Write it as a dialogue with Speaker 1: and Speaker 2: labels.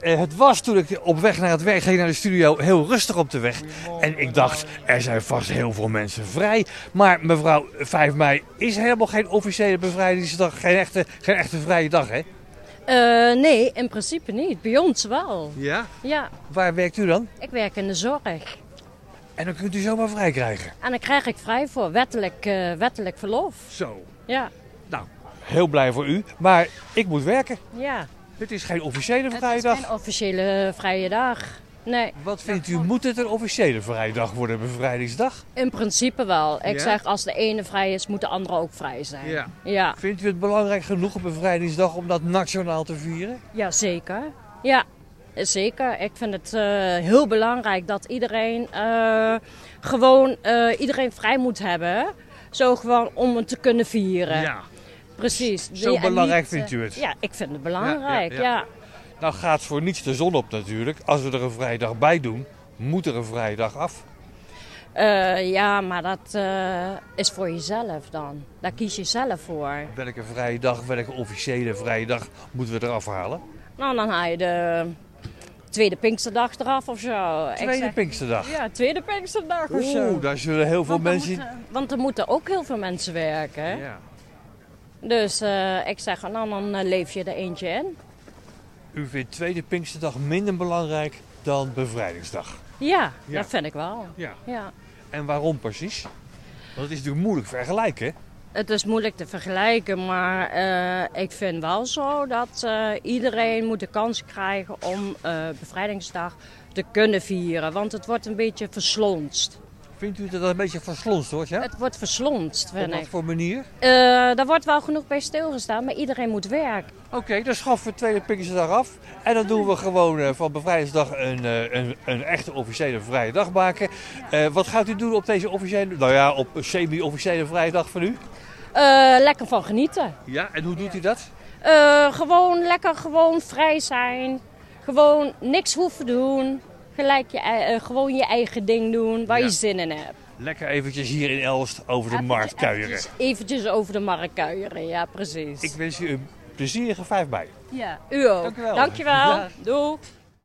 Speaker 1: Eh, het was toen ik op weg naar het werk ging naar de studio heel rustig op de weg. En ik dacht, er zijn vast heel veel mensen vrij. Maar mevrouw, 5 mei is helemaal geen officiële bevrijdingsdag. Geen echte, geen echte vrije dag, hè?
Speaker 2: Eh, nee, in principe niet. Bij ons wel.
Speaker 1: Ja.
Speaker 2: Ja,
Speaker 1: Waar werkt u dan?
Speaker 2: ik werk in de zorg.
Speaker 1: En dan kunt u zomaar vrij krijgen.
Speaker 2: En daar krijg ik vrij voor wettelijk, eh, wettelijk verlof.
Speaker 1: Zo.
Speaker 2: Ja,
Speaker 1: Heel blij voor u. Maar ik moet werken.
Speaker 2: ja.
Speaker 1: Het is geen officiële
Speaker 2: Het is
Speaker 1: vrije dag.
Speaker 2: geen officiële vrije dag. Nee,
Speaker 1: Wat vindt u, moet het een officiële vrije dag worden, bevrijdingsdag?
Speaker 2: in principe wel. Ik
Speaker 1: Ja?
Speaker 2: zeg, als de ene vrij is, moet de andere ook vrij zijn.
Speaker 1: Ja.
Speaker 2: Ja,
Speaker 1: Vindt u het belangrijk genoeg op bevrijdingsdag om dat nationaal te vieren?
Speaker 2: ja zeker. Ja, zeker. Ik vind het eh, heel belangrijk dat iedereen eh, gewoon eh, iedereen vrij moet hebben. Zo gewoon om het te kunnen vieren. Precies.
Speaker 1: Zo
Speaker 2: Ja, en
Speaker 1: belangrijk
Speaker 2: niet,
Speaker 1: vindt
Speaker 2: eh,
Speaker 1: u het?
Speaker 2: Ja, ik vind het belangrijk,
Speaker 1: Ja,
Speaker 2: ja.
Speaker 1: ja, Nou gaat voor niets de zon op natuurlijk. Als we er een vrijdag bij doen, moet er een vrijdag af.
Speaker 2: Eh, ja, maar dat eh, is voor jezelf dan. Daar kies je zelf voor.
Speaker 1: Welke vrije dag, welke officiële vrije dag moeten we eraf halen?
Speaker 2: Nou, dan haal je de tweede Pinksterdag eraf of zo. Ik
Speaker 1: Tweede
Speaker 2: zeg-
Speaker 1: Pinksterdag.
Speaker 2: Ja, tweede Pinksterdag of zo.
Speaker 1: Oeh, daar zullen heel veel
Speaker 2: Want er
Speaker 1: mensen...
Speaker 2: moeten- want er moeten ook heel veel mensen werken.
Speaker 1: Ja.
Speaker 2: Dus eh, ik zeg, nou, dan eh, leef je er eentje in.
Speaker 1: U vindt tweede Pinksterdag minder belangrijk dan bevrijdingsdag.
Speaker 2: Ja,
Speaker 1: Ja.
Speaker 2: dat vind ik wel.
Speaker 1: Ja.
Speaker 2: Ja.
Speaker 1: En waarom precies? Want het is natuurlijk moeilijk vergelijken. hè?
Speaker 2: Het is moeilijk te vergelijken, maar eh, ik vind wel zo dat eh, iedereen moet de kans krijgen om eh, Bevrijdingsdag te kunnen vieren. Want het wordt een beetje verslonst.
Speaker 1: Vindt u dat dat een beetje verslonst wordt, ja?
Speaker 2: Het wordt verslonst,
Speaker 1: Op
Speaker 2: vind
Speaker 1: wat
Speaker 2: ik.
Speaker 1: voor manier?
Speaker 2: Eh, daar wordt wel genoeg bij stilgestaan, maar iedereen moet werken.
Speaker 1: Oké, dan schaffen we tweede Pinksterdag af. En dan doen we gewoon eh, van bevrijdingsdag een, eh, een, een echte officiële vrije dag maken. Eh, wat gaat u doen op deze officiële, nou ja, op een semi-officiële vrije dag van u?
Speaker 2: Eh, lekker van genieten.
Speaker 1: Ja, en hoe doet u dat?
Speaker 2: Eh, gewoon lekker gewoon vrij zijn. Gewoon niks hoeven doen. Gelijk je, ei- eh, gewoon je eigen ding doen waar
Speaker 1: Ja.
Speaker 2: je zin in hebt.
Speaker 1: Lekker eventjes hier in Elst over de
Speaker 2: Even-
Speaker 1: markt kuieren.
Speaker 2: Eventjes, eventjes over de markt kuieren, ja precies.
Speaker 1: Ik wens u een plezierige 5 mei.
Speaker 2: Ja. U ook.
Speaker 1: Dank u wel.
Speaker 2: Dankjewel.
Speaker 1: Dag.
Speaker 2: Doei.